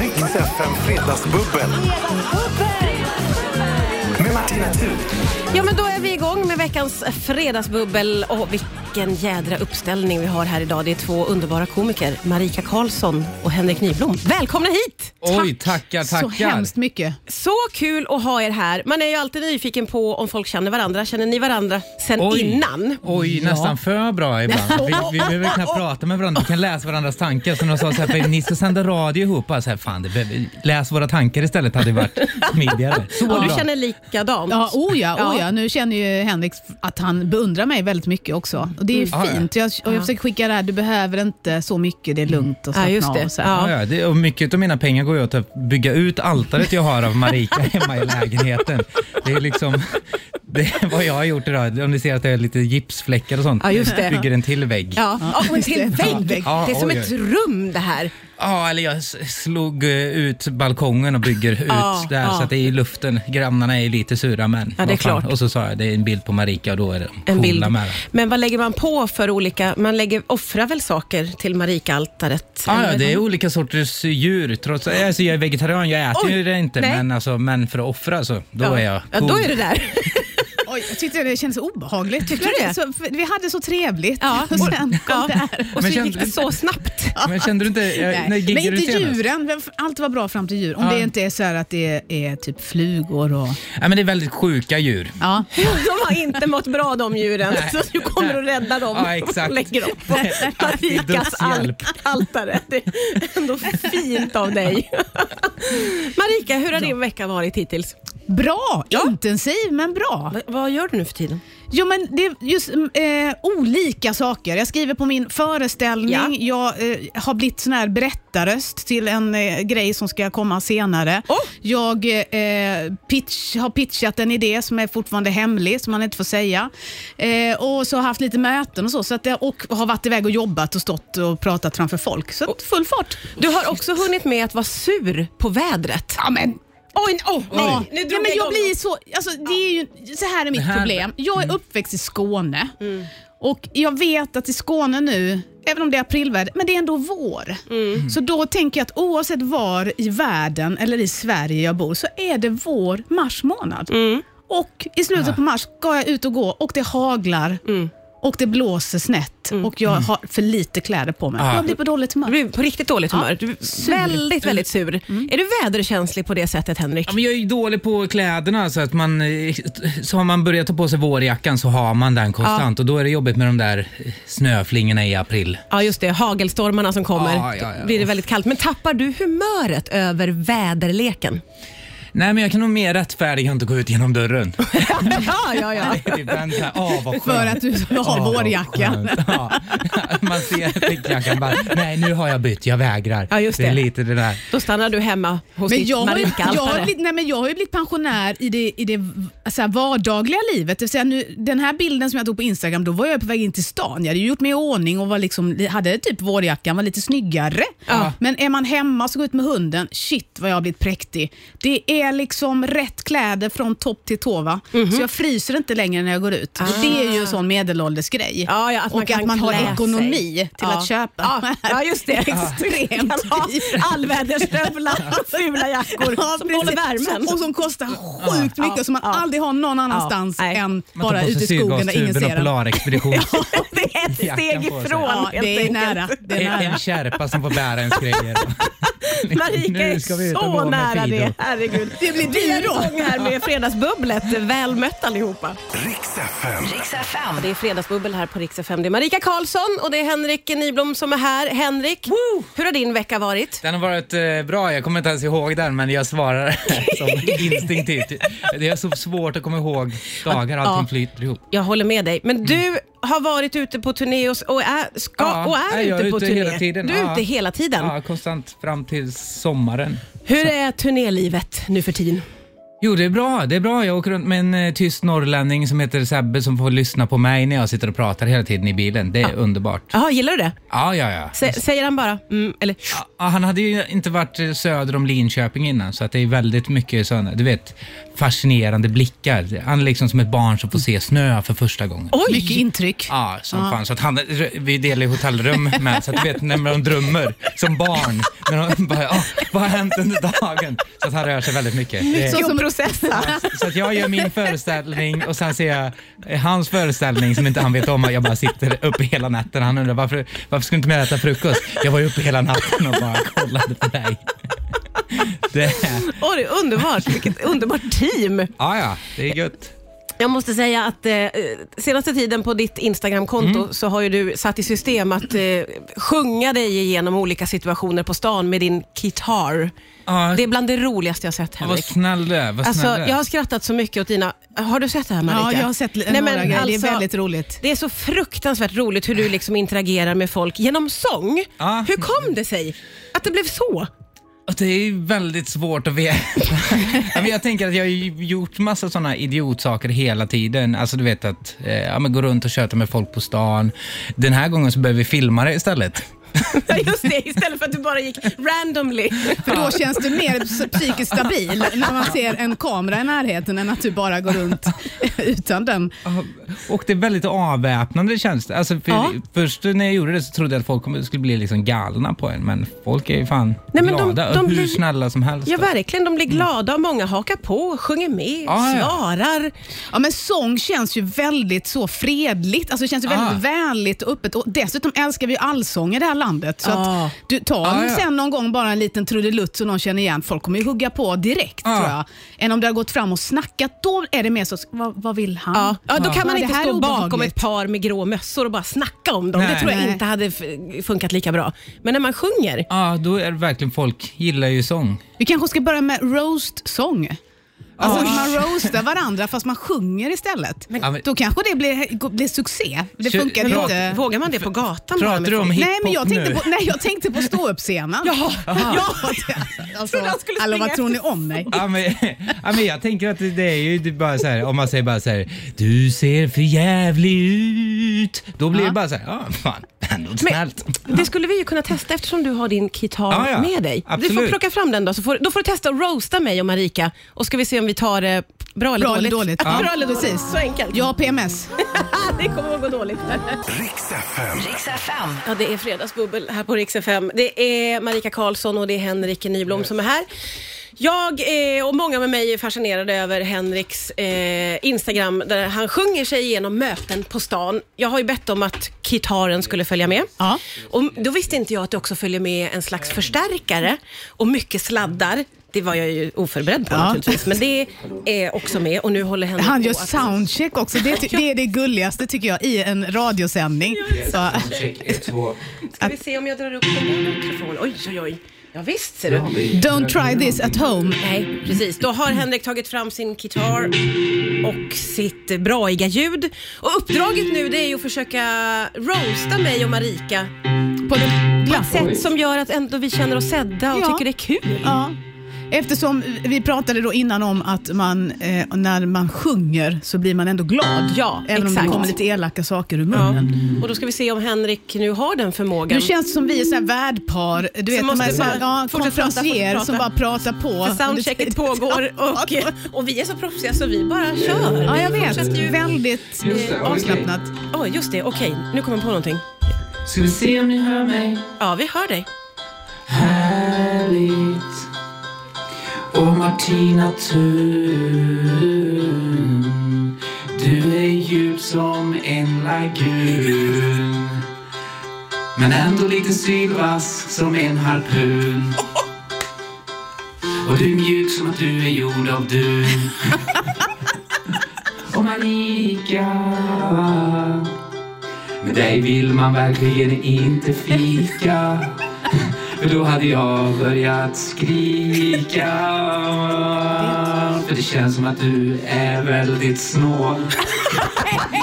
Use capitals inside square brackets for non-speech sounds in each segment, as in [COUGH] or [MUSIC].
Rix FM Fredagsbubbel med Martina Thun. Ja, men då är vi igång med veckans fredagsbubbel. Och vilken jädra uppställning vi har här idag. Det är två underbara komiker, Marika Karlsson och Henrik Nyblom. Välkomna hit! Oj, tackar, Så tackar. hemskt mycket. Så kul att ha er här. Man är ju alltid nyfiken på om folk känner varandra. Känner ni varandra sen innan? Oj, nästan för bra ibland. Vi, vi behöver knappt prata med varandra, vi kan läsa varandras tankar. Som de sa, så här, "För ni ska sända radio ihop. Alltså, här, fan, det, behöver- läs våra tankar istället, hade varit smidigare. Så Och du bra. känner likadant? Ja, oh ja, Ja. oh ja. Nu känner ju Henrik att han beundrar mig väldigt mycket också. Och Det är ju Mm. Ja, ja. fint. Jag, och jag försöker skicka det här, du behöver inte så mycket, det är lugnt och Ja, slappna just det. av. och Så här. Ja. Ja, ja, det, och mycket av mina pengar går ju åt att bygga ut altaret jag har av Marika hemma i lägenheten. Det är liksom det är vad jag har gjort idag. Om ni ser att det är lite gipsfläckar och sånt. Ja, just det. Bygger en till vägg. Ja, och en till det. vägg. Ja, Det är som oj, ett oj. rum det här. Ja, eller jag s- slog eh, ut balkongen och bygger ut Ja, där ja. så att det är i luften. Grannarna är lite sura men... Ja, det är vad fan. klart. Och så sa jag det är en bild på Marika och då är det de En coola bild. med det. Men vad lägger man på för olika... Man lägger, offrar väl saker till Marika-altaret? Ja, eller? ja, det är olika sorters djur. Trots, alltså, jag är vegetarian, jag äter Oj, ju det inte, nej. men, alltså, men för att offra så, då Ja. är jag Ja, cool. då är det där. Oj, jag tyckte det kändes obehagligt. Tyckte du det? Så, för vi hade så trevligt Ja. [LAUGHS] och sen kom det här. Och så Men gick kände- det så snabbt. [LAUGHS] Men kände du inte, jag, Nej, när Men giggade du inte senast? djuren. Vem- Allt var bra fram till djur. Om Ja. det inte är så här att det är typ flugor och... Nej, men det är väldigt sjuka djur. Ja. [LAUGHS] De har inte mått bra de djuren. Nej. Så du kommer och räddar dem Ja, exakt. och lägger dem på Aktiv Marikas dödshjälp. al- altare. Det är ändå fint av dig. Marika, hur har din vecka varit hittills? Bra! Intensiv, men bra. Va- vad gör du nu för tiden? Jo, men det är just mm, eh, olika saker. Jag skriver på min föreställning. Jag eh, har blivit sån här berättarröst till en eh, grej som ska komma senare. Åh! Jag eh, pitch, har pitchat en idé som är fortfarande hemlig, som man inte får säga. Eh, och så har jag haft lite möten och så, så att jag, och har varit iväg och jobbat och stått och pratat framför folk. Så att full fart. Du har också hunnit med att vara sur på vädret. Ja, men Oj, oh, Ja. nej, nu Nej, drog men jag igång. blir så, alltså, det är ju, så här är mitt Det här- Mm. problem. Jag är uppväxt i Skåne och jag vet att i Skåne nu, även om det är aprilväder, men det är ändå vår. Så då tänker jag att oavsett var i världen eller i Sverige jag bor så är det vår mars månad. Och i slutet Ah. på mars ska jag ut och gå och det haglar. Och det blåser snett och jag har för lite kläder på mig. Mm. Ah. Jag blir på dåligt Du humör. blir på riktigt dåligt humör. Du är väldigt, väldigt sur. Är du väderkänslig på det sättet, Henrik? Ja, men jag är ju dålig på kläderna, så att man, eh, så har man börjat ta på sig vårjackan så har man den konstant och då är det jobbigt med de där eh, snöflingorna i april. Ja, just det. Hagelstormarna som kommer. Ja, ja, ja. Då blir det väldigt kallt. Men tappar du humöret över väderleken? Nej, men jag kan nog mer rättfärdiga inte gå ut genom dörren. ja, ja, ja. [LAUGHS] Det är ibland så här, Åh, vad skönt. För att du har Åh, vad vårjackan. Ah, skönt. Ja. [LAUGHS] Man ser fickjackan bara, nej nu har jag bytt, jag vägrar. Ja, just det är det. lite det där. Då stannar du hemma hos Men ditt jag, har ju, jag, har Marika-altare. blivit, nej men jag har ju blivit pensionär i det, i det så här vardagliga livet. Det vill säga nu, den här bilden som jag tog på Instagram, då var jag på väg in till stan. Jag hade ju gjort mig i ordning och var liksom, hade typ vårjackan, var lite snyggare. Ja. Men är man hemma och ska gå ut med hunden, shit vad jag har blivit präktig. Det är liksom rätt kläder från topp till tå. Va? Mhm. Så jag fryser inte längre när jag går ut. Och det är ju en sån medelåldersgrej. Ah. Ja, ja, att man och kan att man har klä sig. ekonomi till Ja. att köpa. Ja, ja, just det. [LAUGHS] Extremt dyrt. Allvädersstövlar och fula jackor Ja, som precis. håller värmen. Som- Och som kostar sjukt mycket och som man Ja. aldrig har någon annanstans Ja. Nej. än Man bara tar på ute sig i skogen där ingen syrgastuben och ser en. polarexpedition. [LAUGHS] Det är ett steg Jackan på sig. ifrån Ja, helt det är enkelt. nära. Det är En, nära. en kärpa som får bära ens grejer. Marika är Nu ska vi ut och gå så med nära Fido. det. Herregud. Det blir Vi är dyrt då. igång här med Fredagsbubblet. Väl mött allihopa. Rix FM. Det är Fredagsbubbel här på Rix FM. Det är Marika Karlsson och det är Henrik Nyblom som är här. Henrik, hur har din vecka varit? Den har varit eh, bra, jag kommer inte ens ihåg den men jag svarar som instinktivt. Det är så svårt att komma ihåg dagar, allting Ja. flyter ihop. Jag håller med dig, men du har varit ute på turné och, s- och är, ska, Ja, och är, nej, jag ute är på ute turné. hela tiden. Du är Ja. ute hela tiden. Ja, konstant fram till sommaren. Hur är turnélivet nu för tiden? Jo, det är bra. Det är bra. Jag åker runt med en eh, tyst norrlänning som heter Sebbe som får lyssna på mig när jag sitter och pratar hela tiden i bilen. Det är underbart. Jaha, gillar du det? Ja, ja, ja. Sä- säger han bara mm, eller Ja, han hade ju inte varit eh, söder om Linköping innan, så att det är väldigt mycket sådana, du vet, fascinerande blickar. Han är liksom som ett barn som får se snö för första gången. oj? Mycket intryck. Ja, som fan. Så att han, vi delar ju hotellrum med, så att du vet när de drömmer som barn. När de bara, "Ah, vad har hänt under dagen? Så att han rör sig väldigt mycket. Det- Så som processar. Så att jag gör min föreställning och sen ser jag eh, hans föreställning som inte han vet om. Jag bara sitter uppe hela natten. Han undrar varför, varför ska du inte med och äta frukost? Jag var ju uppe hela natten och bara kollade på dig. Det, Åh, det är underbart. Vilket underbart team. ja, ja, det är gött. Jag måste säga att eh, senaste tiden på ditt Instagramkonto Mm. så har ju du satt i system att eh, sjunga dig igenom olika situationer på stan med din gitarr. Ja, Det är bland det roligaste jag sett vad Henrik. snäll du är. Vad Alltså, snäll du är. jag har skrattat så mycket åt dina... Har du sett det här Marika? Ja, jag har sett li- några grejer. alltså- Det är väldigt roligt. Det är så fruktansvärt roligt hur du liksom interagerar med folk genom sång. Ja. Hur kom det sig att det blev så? [LAUGHS] Och Det är ju väldigt svårt att veta. ja, men jag tänker att jag har ju gjort massa sådana idiotsaker hela tiden. Alltså du vet att eh, ja, men gå runt och köta med folk på stan. Den här gången så behöver vi filma det istället. Ja, Just det, istället för att du bara gick randomly. För då känns du mer ps- psykiskt stabil när man ser en kamera i närheten än att du bara går runt utan den. Och det är väldigt avväpnande känns det. Alltså, för, Ja. Först när jag gjorde det så trodde jag att folk kommer- skulle bli liksom galna på en, men folk är ju fan Nej, men de- glada och de hur blir- snälla som helst. Ja, då. verkligen. De blir Mm. glada och många hakar på, sjunger med, Ah, Ja, ja. svarar. Ja, men sång känns ju väldigt så fredligt, alltså det känns ju väldigt Ah. vänligt och öppet. Och dessutom älskar vi ju allsång i det här landet. Så Ah. att du tar Ah, ja. sen någon gång bara en liten trudelutt så någon känner igen, folk kommer ju hugga på direkt Ah. tror jag. Än om du har gått fram och snackat, då är det mer så, vad, vad vill han? Ja. Ja, då kan man Ah. Ja, inte det här stå är bakom obehagligt. ett par med grå mössor och bara snacka om dem. Det Nej. tror jag Nej. inte hade f- funkat lika bra. Men när man sjunger, Ja, då är det verkligen folk gillar ju sång. Vi kanske ska börja med roast-sång. Alltså att man roastar varandra fast man sjunger [LAUGHS] istället. Ja, men- Då kanske det blir, blir succé. Det Kör- funkar men ju låt- inte. vågar man det på gatan? bara Pratar med du om folk? hiphop Nej, men jag tänkte nu? på, nej, jag tänkte på ståuppscenen. [LAUGHS] Jaha. Ja, alltså, Trodde han skulle alla, springa vad tror ni efter om mig? Ja, men, ja, men jag tänker att det det är ju det är bara så här, om man säger bara så här, du ser för jävlig ut. Då blir Ja. det bara så här, ja fan, ändå Men, snällt. det skulle vi ju kunna testa eftersom du har din gitarr Ah, Ja, ja. med dig. Du får Absolut. plocka fram den då, så får, då får du testa att roasta mig och Marika och ska vi se om vi tar det bra eller Bra dåligt. eller dåligt? Ja. [LAUGHS] Ja. Bra eller dåligt, så enkelt. Jag har PMS. det kommer att gå dåligt. Riks FM. Riks FM. Ja, det är fredagsbubbel här på Rix FM. Det är Marika Karlsson och det är Henrik Nyblom som är här. Jag eh, och många med mig är fascinerade över Henriks eh, Instagram där han sjunger sig igenom möten på stan. Jag har ju bett om att gitarren skulle följa med. Ja. Och då visste inte jag att det också följer med en slags förstärkare och mycket sladdar. Det var jag ju oförberedd på Ja. naturligtvis, men det är också med och nu håller Henrik Han på gör att- soundcheck också. Det, ty- det är det gulligaste tycker jag i en radiosändning. Så, Ska vi se om jag drar upp den mikrofonen? Oj, oj, oj. Ja, visst ser du. don't try this at home. Nej, precis. Då har Henrik tagit fram sin gitarr och sitt braiga ljud. Och uppdraget nu det är ju att försöka roasta mig och Marika På den på ett glatt. sätt som gör att ändå vi känner oss sedda och Ja. tycker det är kul. Ja. Eftersom vi pratade då innan om att man, eh, när man sjunger så blir man ändå glad. Ja, Även om exakt. det kommer lite elaka saker ur Ja. munnen. Och då ska vi se om Henrik nu har den förmågan. Nu känns det som vi är så här värdpar, du vet, de måste här, så här, bara- ja, fortsätt prata, konferencier fortsätt som bara prata. pratar på. För soundchecket [LAUGHS] pågår och, och vi är så proffsiga så vi bara kör. Ja, jag Vi vet. fortsätter ju- Väldigt eh, avslappnat. Ja, just det. Okej, nu kommer jag på någonting. Ska vi se om ni hör mig? Ja, vi hör dig. Härligt. Och Martina Thun, du är djup som en lagun. Men ändå lite sylvass som en harpun. Och du är mjuk som att du är gjord av dun. Och Marika med dig vill man verkligen inte fika För då hade jag börjat skrika För det känns som att du är väldigt snål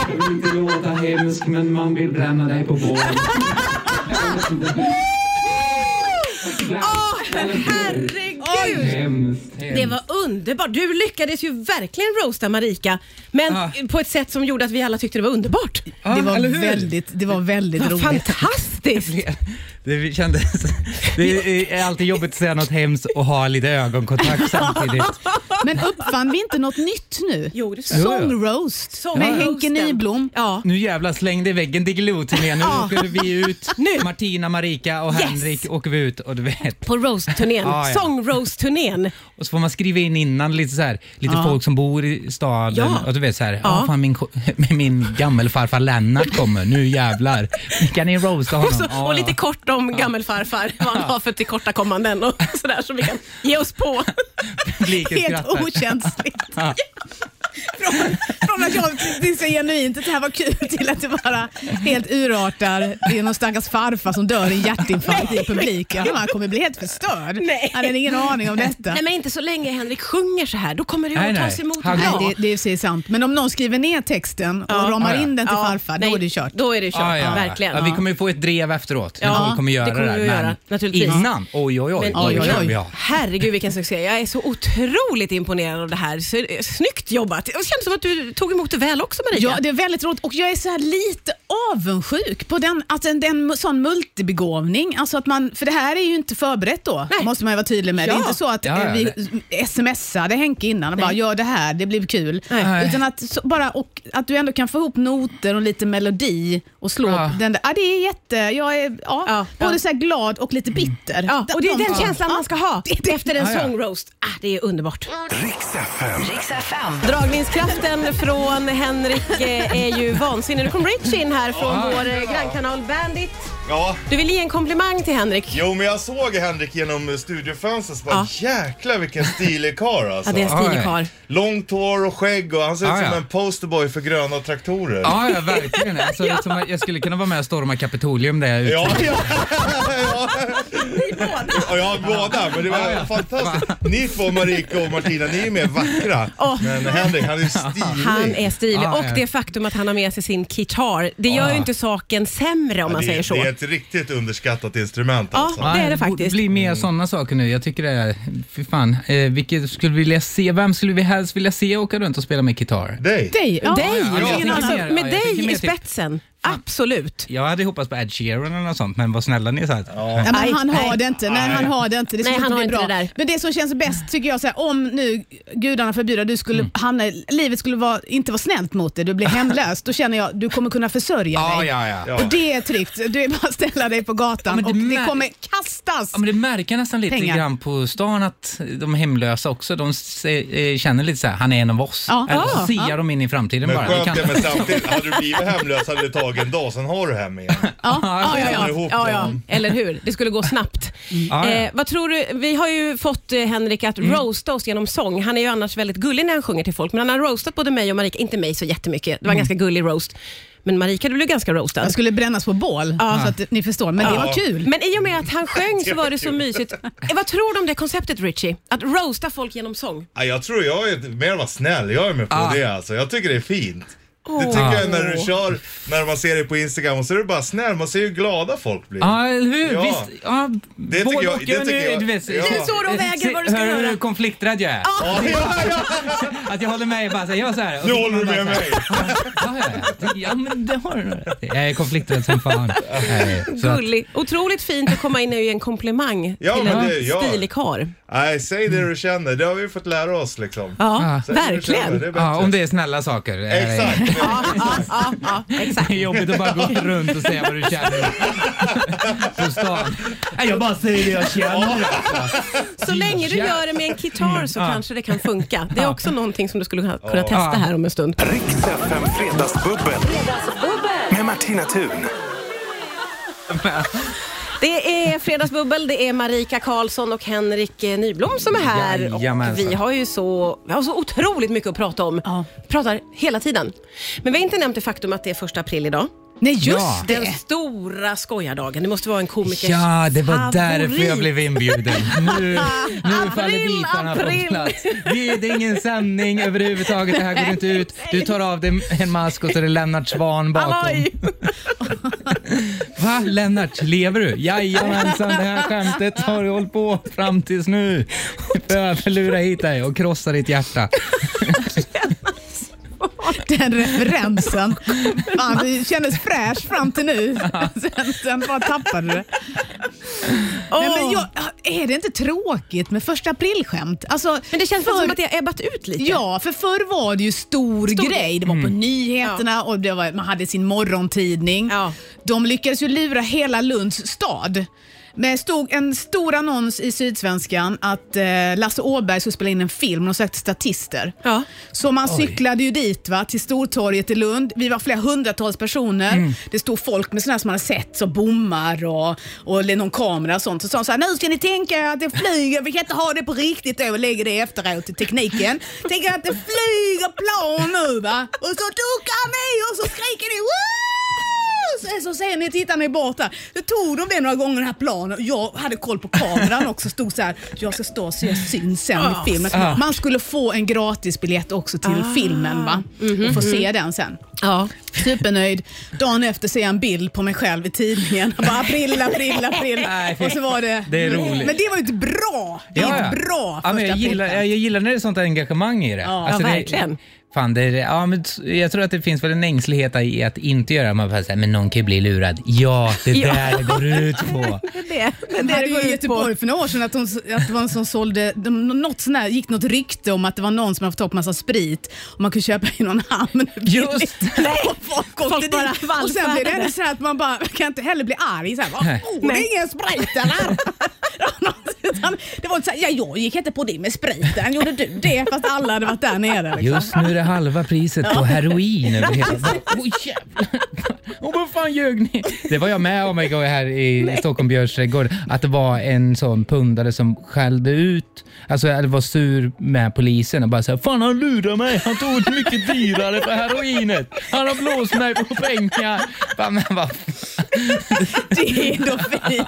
Jag vill inte låta hemsk men man vill bränna dig på bål Åh, herregud! Hemskt, hemskt. Det var underbar. Du lyckades ju verkligen roasta Marika, men Ja. på ett sätt som gjorde att vi alla tyckte det var underbart. Ja, Det eller var hur? väldigt, det var väldigt Vad roligt. fantastiskt! Det kändes... Det är alltid jobbigt att säga något hemskt och ha lite ögonkontakt samtidigt. Men uppfann vi inte något nytt nu? Jo, det tror jag. Song roast med Sångroasten. Henke Nyblom. Ja. Nu jävlar släng dig i väggen Diggiloo till mig. Nu Ja. åker vi ut. Nu. Martina, Marika och Yes. Henrik åker vi ut och du vet. På roast-turnén. Ja, ja. Song roast-turnén. Och så får man skriva in innan lite så här, lite folk som bor i staden Ja. och du vet så här, ja Ja. fan min, ko- [LAUGHS] min gammelfarfar Lennart kommer, nu jävlar. Kan ni roasta honom? Och, så, Ja, och ja. lite kort om gammelfarfar, vad han har för tillkortakommanden och [LAUGHS] sådär som vi kan ge oss på. Publiken Helt skrattar. [LAUGHS] okänsligt. från, från att jag tyckte genuint att det här var kul till att det bara helt urartar. Det är någon stackars farfar som dör i en hjärtinfarkt i publiken. Han kommer bli helt förstörd. Nej. Han har ingen aning om detta. Nej men inte så länge Henrik sjunger så här, då kommer det Nej, att nej. tas emot Han- bra. Nej, det, det är ju sig sant. Men om någon skriver ner texten och ramar Ja, ja. in den till Ja, farfar, nej, då är det kört. Då är det kört, Ja, ja, ja. verkligen. Ja, vi kommer ju få ett drev efteråt. när Ja, folk kommer göra det det, kommer vi där. göra, naturligtvis. innan, oj oj oj. Men vad oj, oj, kul oj. vi har. Herregud vilken succé. Jag är så otroligt imponerad av det här. Så, eh, snyggt jobbat. Det känns som att du tog emot det väl också Marika. Ja, det är väldigt roligt och jag är så här lite avundsjuk på den, att en, den sån multibegåvning. Alltså att man, för det här är ju inte förberett då, Nej. måste man ju vara tydlig med. Det Ja. är inte så att Ja, ja, eh, vi smsade Henke innan och bara gör det här, det blir kul. Nej. Utan att, så, bara, och, att du ändå kan få ihop noter och lite melodi och slå Ja. upp den där. Ja, det är jätte... Jag är ja, Ja, både ja. så här glad och lite bitter. Ja, och det är den Någonting. känslan man ska ha efter en Ja, ja. song roast. Ah, det är underbart. Riks FM. Riks FM. Dragningskraften från Henrik eh, är ju vansinnig. Nu kom Rich in här från vår eh, grannkanal Bandit. Ja, Du vill ge en komplimang till Henrik. jo men jag såg Henrik genom studiofönstret så Ja. bara jäklar vilken stilig karl [LAUGHS] Ja, alltså. det är en stilig Ja, karl. Långt hår och skägg och han ser ut Ja, som ja. en posterboy för gröna traktorer. Ja, ja verkligen. Alltså, liksom, jag skulle kunna vara med och storma Kapitolium där jag är ute. Ja, ja, ja. [LAUGHS] Ja, ja, båda. Men det var fantastiskt. Ni två, Marika och Martina, ni är mer vackra. Men Henrik, han är stilig. Han är stilig Ja, och ja. det faktum att han har med sig sin gitar, det gör ju inte saken sämre om man det, säger så. det är ett riktigt underskattat instrument Ja. alltså. det är det borde faktiskt. bli mer sådana saker nu. Jag tycker det är, fy fan. Eh, vilket skulle vi vilja se, vem skulle vi helst vilja se åka runt och spela med gitarr? Dig. Dig, ja. Dig, ja, jag Ingen tänker alltså, mer- med ja, jag tänker dig mer i typ- spetsen. Absolut. Jag hade hoppats på Ed Sheeran eller något sånt, men vad snälla ni är. så här. Ja, Nej, men han nej. har det inte. Nej, han har det inte. Det Nej, skulle han inte har inte bli bra. det där. Men det som känns bäst tycker jag, så här, om nu gudarna förbjuder du skulle hamna, i- livet skulle vara, inte vara snällt mot dig, du blir hemlös, då känner jag du kommer kunna försörja Ja, dig. ja, ja. Ja. Och det är tryggt. Du är bara att ställa dig på Ja, gatan men det och det mär- kommer kastas. Ja, men det märker nästan lite Pengar. grann på stan att de hemlösa också, de se, eh, känner lite så här, han är en av oss. Ja. Eller så Ja. siar de in i framtiden Men bara. Det skönt kan- det, men samtidigt, hade du blivit hemlös hade det tagit en dag, sen har du hem igen. Ja, ja, ja, Samlar ja. ihop Ja, ja, dem. eller hur? Det skulle gå snabbt. Ja, ja. Eh, vad tror du? Vi har ju fått eh, Henrik att roasta oss genom sång. Han är ju annars väldigt gullig när han sjunger till folk, men han har roastat både mig och Marika. Inte mig så jättemycket, det var en ganska gullig roast. Men Marika, du blev ganska roastad. Jag skulle brännas på bål, så att ni förstår. Men det var kul. Men i och med att han sjöng så var det så mysigt. Eh, Vad tror du om det konceptet Richie? Att roasta folk genom sång? Ja, jag tror jag är mer var snäll, jag är med på Ah. det alltså. Jag tycker det är fint. Det Åh. tycker jag när du kör, när man ser dig på Instagram och så är du bara snäll, man ser ju hur glada folk blir. [LAUGHS] Ja, eller hur? Ja. Visst. Ja, det tycker jag- det tycker jag- Du vet, Eh, ja. Det är så de väger vad du ska Hör göra. hur konflikträdd jag är? Ah, Ja, ja, ja. Att jag håller med, bara så här, jag var så här. Nu håller du med mig. Ja, ja, ja, men det har du nog rätt i. Jag är konflikträdd som fan. Eh, Så att, Gullig. Otroligt fint att komma in och ge en komplimang Ja, till men en det- ja. stilig karl. Nej, säg det du känner. Det har vi fått lära oss liksom. Ja, Säg det du känner, verkligen. är bättre. ja, om det är snälla saker. eh, Exakt. Ja, ja, ja, ja, exakt. Det är jobbigt att bara gå runt och säga vad du känner på stan. Nej, jag bara säger det jag känner. Så länge du gör det med en gitarr så Ja. kanske det kan funka. Det är också någonting som du skulle kunna, kunna testa här om en stund. Riks FM Fredagsbubbel. Med Martina Thun. Det är Fredagsbubbel, det är Marika Karlsson och Henrik eh, Nyblom som är här. Och Jajamensan. vi har ju så, vi har så otroligt mycket att prata om. Ja. pratar hela tiden. Men vi har inte nämnt det faktum att det är första april idag. Nej, just Ja. det. Den stora skojardagen. Det måste vara en komikers Ja, det var favorit. därför jag blev inbjuden. Nu, nu faller April, bitarna april. på plats. Det, det är ingen sändning överhuvudtaget, det här går inte ut. Du tar av dig en mask och så är det Lennart Swahn bakom. Halloj! Va Lennart, lever du? Jajamensan, det här skämtet har du hållit på fram tills nu. Behöver lura hit dig och krossa ditt hjärta. Den referensen. Fan, det kändes fräsch fram till nu. Sen, sen bara tappade du det. Nej, men jag, är det inte tråkigt med första aprilskämt? Alltså, Men det känns förr- som att det har ebbat ut lite. Ja, för förr var det ju stor, grej. Det var på nyheterna och det var, man hade sin morgontidning. Ja. De lyckades ju lura hela Lunds stad. Men det stod en stor annons i Sydsvenskan att eh, Lasse Åberg skulle spela in en film och de sökte statister. Ja. Så man cyklade ju dit va, till Stortorget i Lund. Vi var flera hundratals personer. Det stod folk med sådana här som man har sett, så bommar och, och någon kamera och sånt. Så sa de så här, nu ska ni tänka er att det flyger, vi kan inte ha det på riktigt då och lägger det efteråt i tekniken. Tänk er att det flyger plan nu va, och så duckar ni och så skriker ni Woo! Så- så ser ni, tittar ni bort där. Då tog de det några gånger den här planen och jag hade koll på kameran också. Stod så här, jag ska stå så jag syns sen i filmen. Ah. Man skulle få en gratisbiljett också till filmen va? Mhm. och få Mm. se den sen. Ja. Supernöjd. Dagen efter ser jag en bild på mig själv i tidningen. Jag Bara april, april, april. Nej, Och så var det... det är roligt. Men det var ju ett bra. Det är ett bra ja, men första jag, gillar, aprilskämt. jag gillar när det är sånt engagemang i det. Ja, ja, verkligen. Det, fan, det, är- ja, men t- jag tror att det finns väl en ängslighet i att inte göra det. Man bara säger, men någon kan ju bli lurad. Ja, [LAUGHS] det är Ja. där det går ut på. Det, det, Det hade ju i ut på. Göteborg för några år sedan att, hon, att det var en som sålde, de, något sån här, gick något rykte om att det var någon som hade fått tag på massa sprit och man kunde köpa i någon [LAUGHS] hamn. Just Nej. [LAUGHS] Och folk åkte Folk dit. bara Och sen blev det ändå så här att man bara, man kan inte heller bli arg. Så här, bara, Nej. oh, det är ingen sprit [LAUGHS] eller? Utan det var inte så här, ja, jag gick inte på det med spriten, gjorde du det? Fast alla hade varit där nere. Liksom. Just nu är det halva priset på heroin över hela världen. Oj jävlar. Och vad fan ljög ni? Det var jag med om igår här i Stockholm Björns trädgård. Att det var en sån pundare som skällde ut, alltså eller var sur med polisen och bara såhär Fan han lurade mig, han tog ut mycket dyrare för heroinet. Han har blåst mig på pengar. Bara, men vad Det är ändå fint.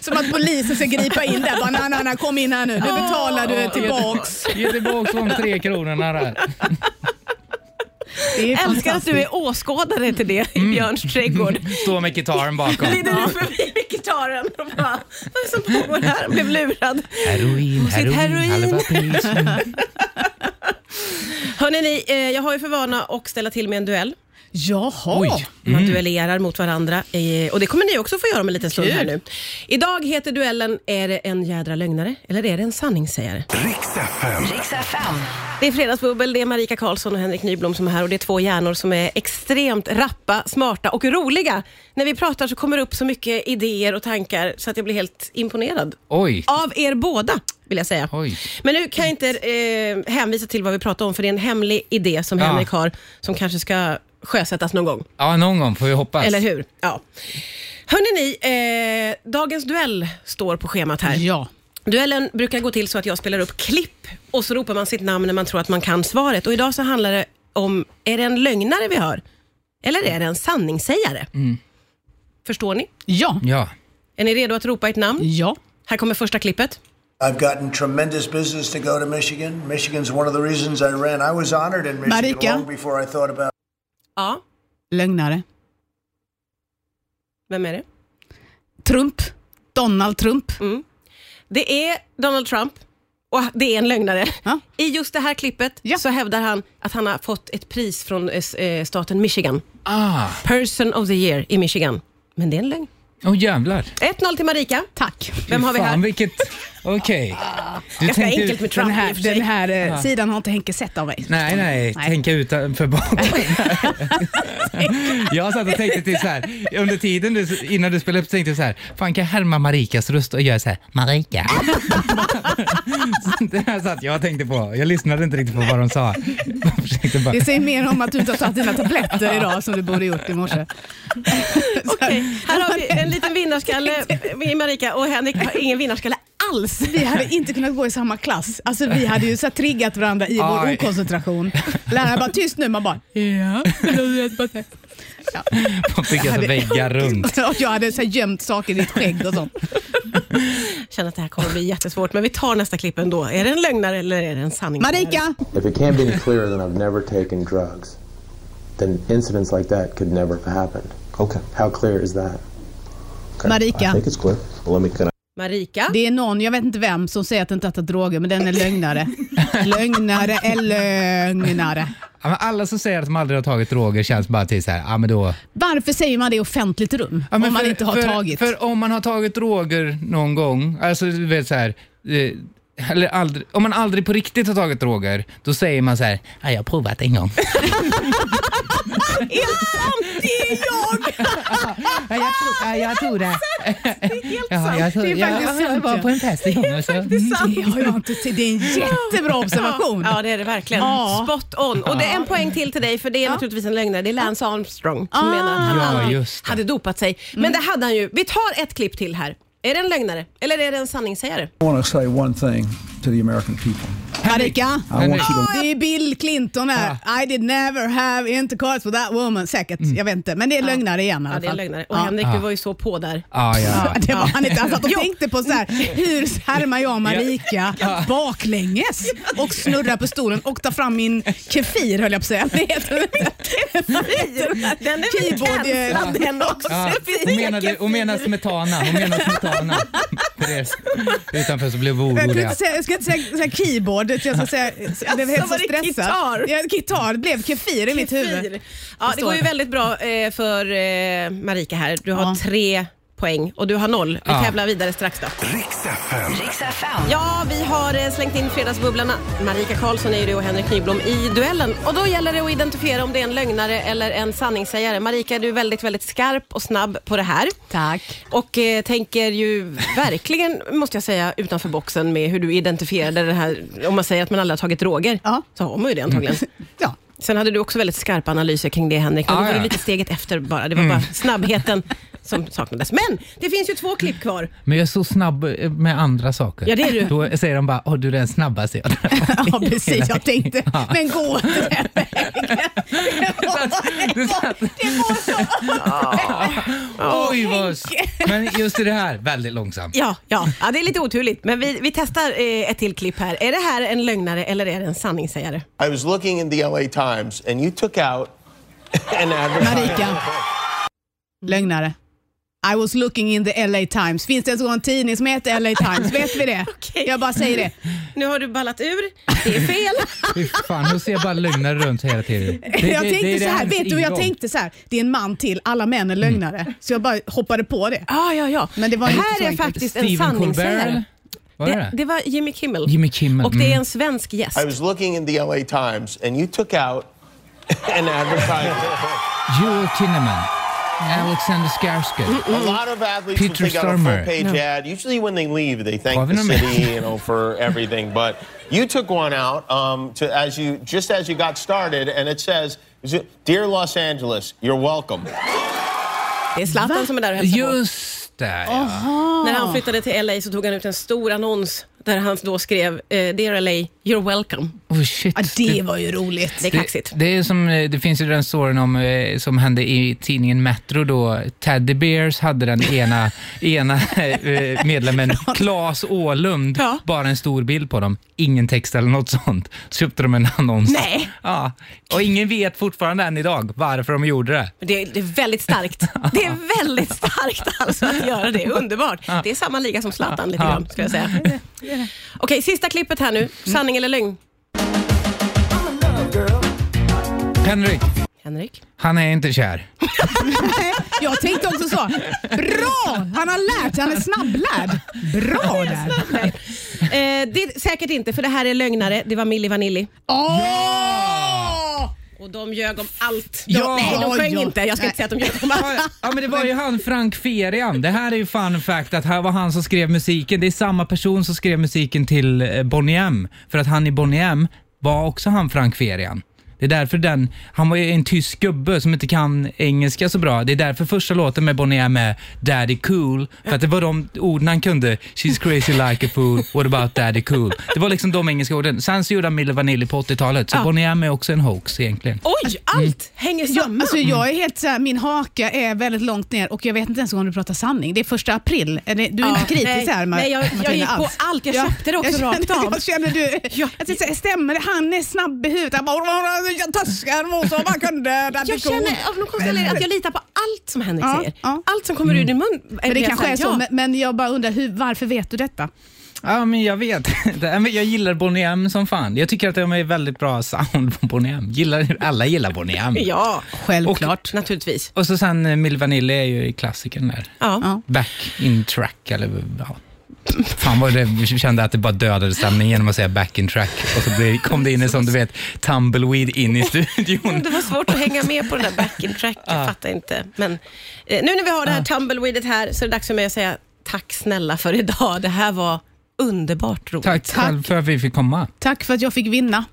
Som att polisen ska gripa in där. Bara, nej, nej, nej, kom in här nu. Nu betalar du tillbaks. Ge tillbaka de tre kronorna där. Det är Älskar att fantastiskt. Mm. du är åskådare till det i Björns trädgård. Stå med gitarren bakom. Glider du förbi med gitarren och bara, vad är det som pågår här? Blev lurad. Heroin, sitt heroin, heroin. halva priset. Hörrni, ni, eh, jag har ju för vana att ställa till med en duell. Jaha. Oj. Man Mm. duellerar mot varandra eh, och det kommer ni också få göra om en liten stund här nu. Idag heter duellen Är det en jädra lögnare eller är det en sanningssägare? Riks FM. Det är Fredagsbubbel, det är Marika Karlsson och Henrik Nyblom som är här och det är två hjärnor som är extremt rappa, smarta och roliga. När vi pratar så kommer det upp så mycket idéer och tankar så att jag blir helt imponerad. Oj. Av er båda, vill jag säga. Oj. Men nu kan jag inte eh, hänvisa till vad vi pratar om, för det är en hemlig idé som Ja. Henrik har, som kanske ska sjösättas någon gång. Ja, någon gång får vi hoppas. Eller hur? Ja. Hörrni, ni, eh, dagens duell står på schemat här. Ja. Duellen brukar gå till så att jag spelar upp klipp och så ropar man sitt namn när man tror att man kan svaret. Och idag så handlar det om, är det en lögnare vi hör? Eller är det en sanningssägare? Förstår ni? Ja. Ja. Är ni redo att ropa ett namn? Ja. Här kommer första klippet. I've gotten tremendous business to go to Michigan. Michigan's one of the reasons I ran. I was honored in Michigan Marika? long before I thought about Ja, Lögnare. vem är det? Trump. Donald Trump. Mm. Det är Donald Trump och det är en lögnare. Ja. I just det här klippet Ja. så hävdar han att han har fått ett pris från eh, s- eh, staten Michigan. Ah. Person of the year i Michigan. Men det är en lögn. Åh oh, jävlar. 1-0 till Marika. Tack. Vem har vi Fan, här? Ah, vilket... [LAUGHS] Okej. Du Ganska tänkte enkelt ut- med Trump i Den och här, för sig. den här eh, sidan har inte Henke sett av mig. Nej, nej, Nej. tänka utanför boxen. jag satt och tänkte till så här, under tiden du, innan du spelade upp tänkte jag så här, fan kan jag härma Marikas röst och göra så här, Marika? [LAUGHS] Så det här satt jag och tänkte på, jag lyssnade inte riktigt på vad de sa. Jag försökte bara, Det säger mer om att du inte har tagit dina tabletter idag som du borde gjort i morse. Okej, här har vi en liten [LAUGHS] vinnarskalle i Marika och Henrik har ingen vinnarskalle alls. Vi hade inte kunnat gå i samma klass. Alltså, vi hade ju så här triggat varandra i vår Aj. okoncentration. Läraren bara tyst nu, man bara ja. de fick alltså [LAUGHS] väggar runt. [LAUGHS] Och jag hade så här gömt saker i ditt skägg och sånt. Jag känner att det här kommer bli jättesvårt, men vi tar nästa klipp ändå. Är det en lögnare eller är det en sanning? Marika! If it can't be any clearer than I've never taken drugs, then incidents like that could never have happened. Okay. How clear is that? Marika. it's clear. Well, let me connect. Marika. Det är någon, jag vet inte vem, som säger att den inte har tagit droger, men den är lögnare. lögnare är lögnare. Ja, men alla som säger att de aldrig har tagit droger känns bara till så här, ja men då... Varför säger man det i offentligt rum Ja, men om man för- inte har för, tagit? För om man har tagit droger någon gång, alltså du vet så här, eh, eller aldrig, om man aldrig på riktigt har tagit droger, då säger man så här, ja, jag har provat en gång. Det är jag! [LAUGHS] Ja, jag, tror, ja, jag tror det. Helt Ja, jag, tror, Det är ja, faktiskt jag, [LAUGHS] sant, var ja. på en fest en gång. alltså. [LAUGHS] och så- [LAUGHS] Det har jag inte sett. Det är en jättebra observation. Ja, det är det verkligen. Ja. Spot on. Och det är en poäng till till dig, för det är naturligtvis en lögnare. Det är Lance Armstrong som Ah. Mm. menar att han Ja, aldrig just det. hade dopat sig. Men det hade han ju. Vi tar ett klipp till här. Är det en lögnare eller är det en sanningssägare? I want to say one thing to the American people. Marika. I want you to Det är Bill Clinton här. I did never have intercourse with that woman. Säkert, jag vet inte. Men det är lögnare igen i Ja, alla fall. det är en lögnare. Och Ja. Henrik, du var ju så på där. Ah, Ja, [LAUGHS] ja. Ja, det var han inte. Han satt och Jo. tänkte på så här, hur härmar jag Marika baklänges och snurrar på stolen och tar fram min kefir höll jag på att säga. Det heter det inte. [LAUGHS] Den är väl Keyboard, eh, känslad den också? [LAUGHS] Ja, hon, menade, hon menade smetana. Hon menade smetana. Therese, Utanför så blev vi Jag, kunde oroliga. inte säga, jag ska inte säga, säga keyboard, jag ska säga, jag blev helt var så det stressad. gitar? Ja, gitar blev kefir i mitt huvud. Fyr. Ja, det går ju väldigt bra eh, för eh, Marika här. Du har Ja. tre poäng och du har noll. Vi Ja. tävlar vidare strax då. Riks FM. Ja, vi har eh, slängt in fredagsbubblarna. Marika Karlsson är ju det och Henrik Nyblom i duellen. Och då gäller det att identifiera om det är en lögnare eller en sanningssägare. Marika, du är väldigt, väldigt skarp och snabb på det här. Tack. Och eh, tänker ju verkligen, [LAUGHS] måste jag säga, utanför boxen med hur du identifierade det här. Om man säger att man aldrig har tagit droger, Ja. så har man ju det [LAUGHS] antagligen. Ja. [LAUGHS] Sen hade du också väldigt skarpa analyser kring det Henrik, men Ah, då var ja. Mm. du lite steget efter bara. Det var bara [LAUGHS] snabbheten som saknades. Men det finns ju två klipp kvar. Men jag är så snabb eh, med andra saker. Ja, det är du. Då säger de bara, åh du är den snabbaste jag träffat." Ja precis, jag tänkte, men gå åt den här vägen. [LAUGHS] Det var- det var- det var så [LAUGHS] Oj, vad... Men just i det här, väldigt långsamt. Ja, ja. ja, det är lite oturligt. Men vi, vi testar eh, ett till klipp här. Är det här en lögnare eller är det en sanningssägare? I was looking in the LA Times and you took out an advertisement. Marika. Lögnare. I was looking in the LA Times. Finns det ens en tidning som heter LA Times? Vet vi det? [LAUGHS] Okej. Jag bara säger det. Nu har du ballat ur. Det är fel. Fy fan, hon ser bara lögnare runt hela tiden. Det- det- jag det- tänkte det är så här, hennes vet du jag ingång. tänkte så här, det är en man till, alla män är lögnare. Mm. Så jag bara hoppade på det. [LAUGHS] Ja, ja, ja. Men det var inte här så är enkelt. faktiskt en Stephen Colbert, sanningssägare. eller? Var det det? det var Jimmy Kimmel. Jimmy Kimmel, Och det är mm. en svensk gäst. I was looking in the LA Times and you took out an advertisement. Joel Kinnaman, Mm. Alexander Skarsgård. A lot of athletes Peter will take out a Stormare. full page ad. Usually when they leave, they Oh, thank I've the never- city, you know, for everything. But you took one out um, to as you just as you got started, and it says, "Dear Los Angeles, you're welcome." Det är Zlatan som är där [LAUGHS] och hälsar på. Just det, ja. När han flyttade till LA så tog han ut en stor annons där han då skrev eh, “Dear LA, you're welcome”. Oh, shit. Ja, det var ju roligt. Det är kaxigt. Det, det, är som, eh, det finns ju den storyn om, eh, som hände i tidningen Metro då. Teddy Bears hade den ena, [LAUGHS] ena eh, medlemmen, Claes Åhlund, Ja. bara en stor bild på dem. Ingen text eller något sånt. Så köpte de en annons. Nej. Ja. Och ingen vet fortfarande än idag varför de gjorde det. Men Det är, det är väldigt [LAUGHS] starkt. Det är väldigt starkt alltså att göra det. Underbart. Det är samma liga som Zlatan lite grann, skulle jag säga. Okej, sista klippet här Mm. nu. Sanning eller lögn? Henrik, Henrik? han är inte kär. Eh, Jag tänkte också så, bra! Han har lärt sig, han är snabblärd. Bra där. Eh, det är säkert inte, för det här är lögnare. Det var Milli Vanilli. Åh! Och de ljög om allt. De, Ja. nej, de sjöng Oj, ja. inte. Jag ska inte säga att de ljög om allt. Ja men det var ju han Frank Ferian. Det här är ju fun fact att här var han som skrev musiken. Det är samma person som skrev musiken till eh, Bonnie M. För att han i Bonnie M var också han Frank Ferian. Det är därför den, han var ju en tysk gubbe som inte kan engelska så bra. Det är därför första låten med Bonnie M är Daddy Cool. För att det var de orden han kunde. She's crazy like a fool, what about Daddy Cool? Det var liksom de engelska orden. Sen så gjorde han Milli Vanilli på 80-talet. Så Ja. Bonnie M är också en hoax egentligen. Oj, allt hänger Jag, samman. Mm. alltså jag är helt så här, min haka är väldigt långt ner och jag vet inte ens om du pratar sanning. Det är första april. Är det, du är inte kritisk nej, här Mar- nej, jag, Martina jag gick på alls. allt. Jag Ja, köpte det också jag rakt känner, av. Jag känner du, Ja. jag tänkte, så här, stämmer det? Han är snabb i huvudet. Han bara, jag torskar mot så man kunde. där Jag det går. känner av någon konstig anledning att jag litar på allt som Henrik Ja, säger. ja. Mm. Allt som kommer ur din mun. Men det jag kanske säger är så, ja. men- men jag bara undrar hur, varför vet du detta? Ja, men jag vet [LAUGHS] inte. Ja, men Jag gillar Bonnie M som fan. Jag tycker att de är väldigt bra sound på Bonnie M. Gillar, alla gillar Bonnie M. [LAUGHS] Ja, självklart. Och, naturligtvis. Och så sen eh, Milli Vanilli är ju klassikern där. Ja. Back in track, eller ja. Fan vad det, jag kände att det bara dödade stämningen genom att säga back in track. Och så blev- kom det in en sån, du vet, tumbleweed in i studion. Det var svårt att hänga med på den där backing track. Jag fattar inte. Men eh, nu när vi har det här tumbleweedet här så är det dags för mig att säga tack snälla för idag. Det här var underbart roligt. Tack själv för att vi fick komma. Tack för att jag fick vinna.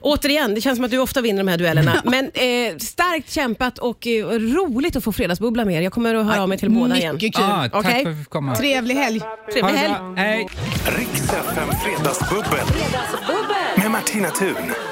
Återigen, det känns som att du ofta vinner de här duellerna. Men eh, starkt kämpat och eh, roligt att få fredagsbubbla med er. Jag kommer att höra av mig till båda igen. Mycket kul. Ah, tack Okej. för att vi fick komma. Trevlig helg. Trevlig Ha det helg. bra. Hej. Riks FM Fredagsbubbel. Med Martina Thun.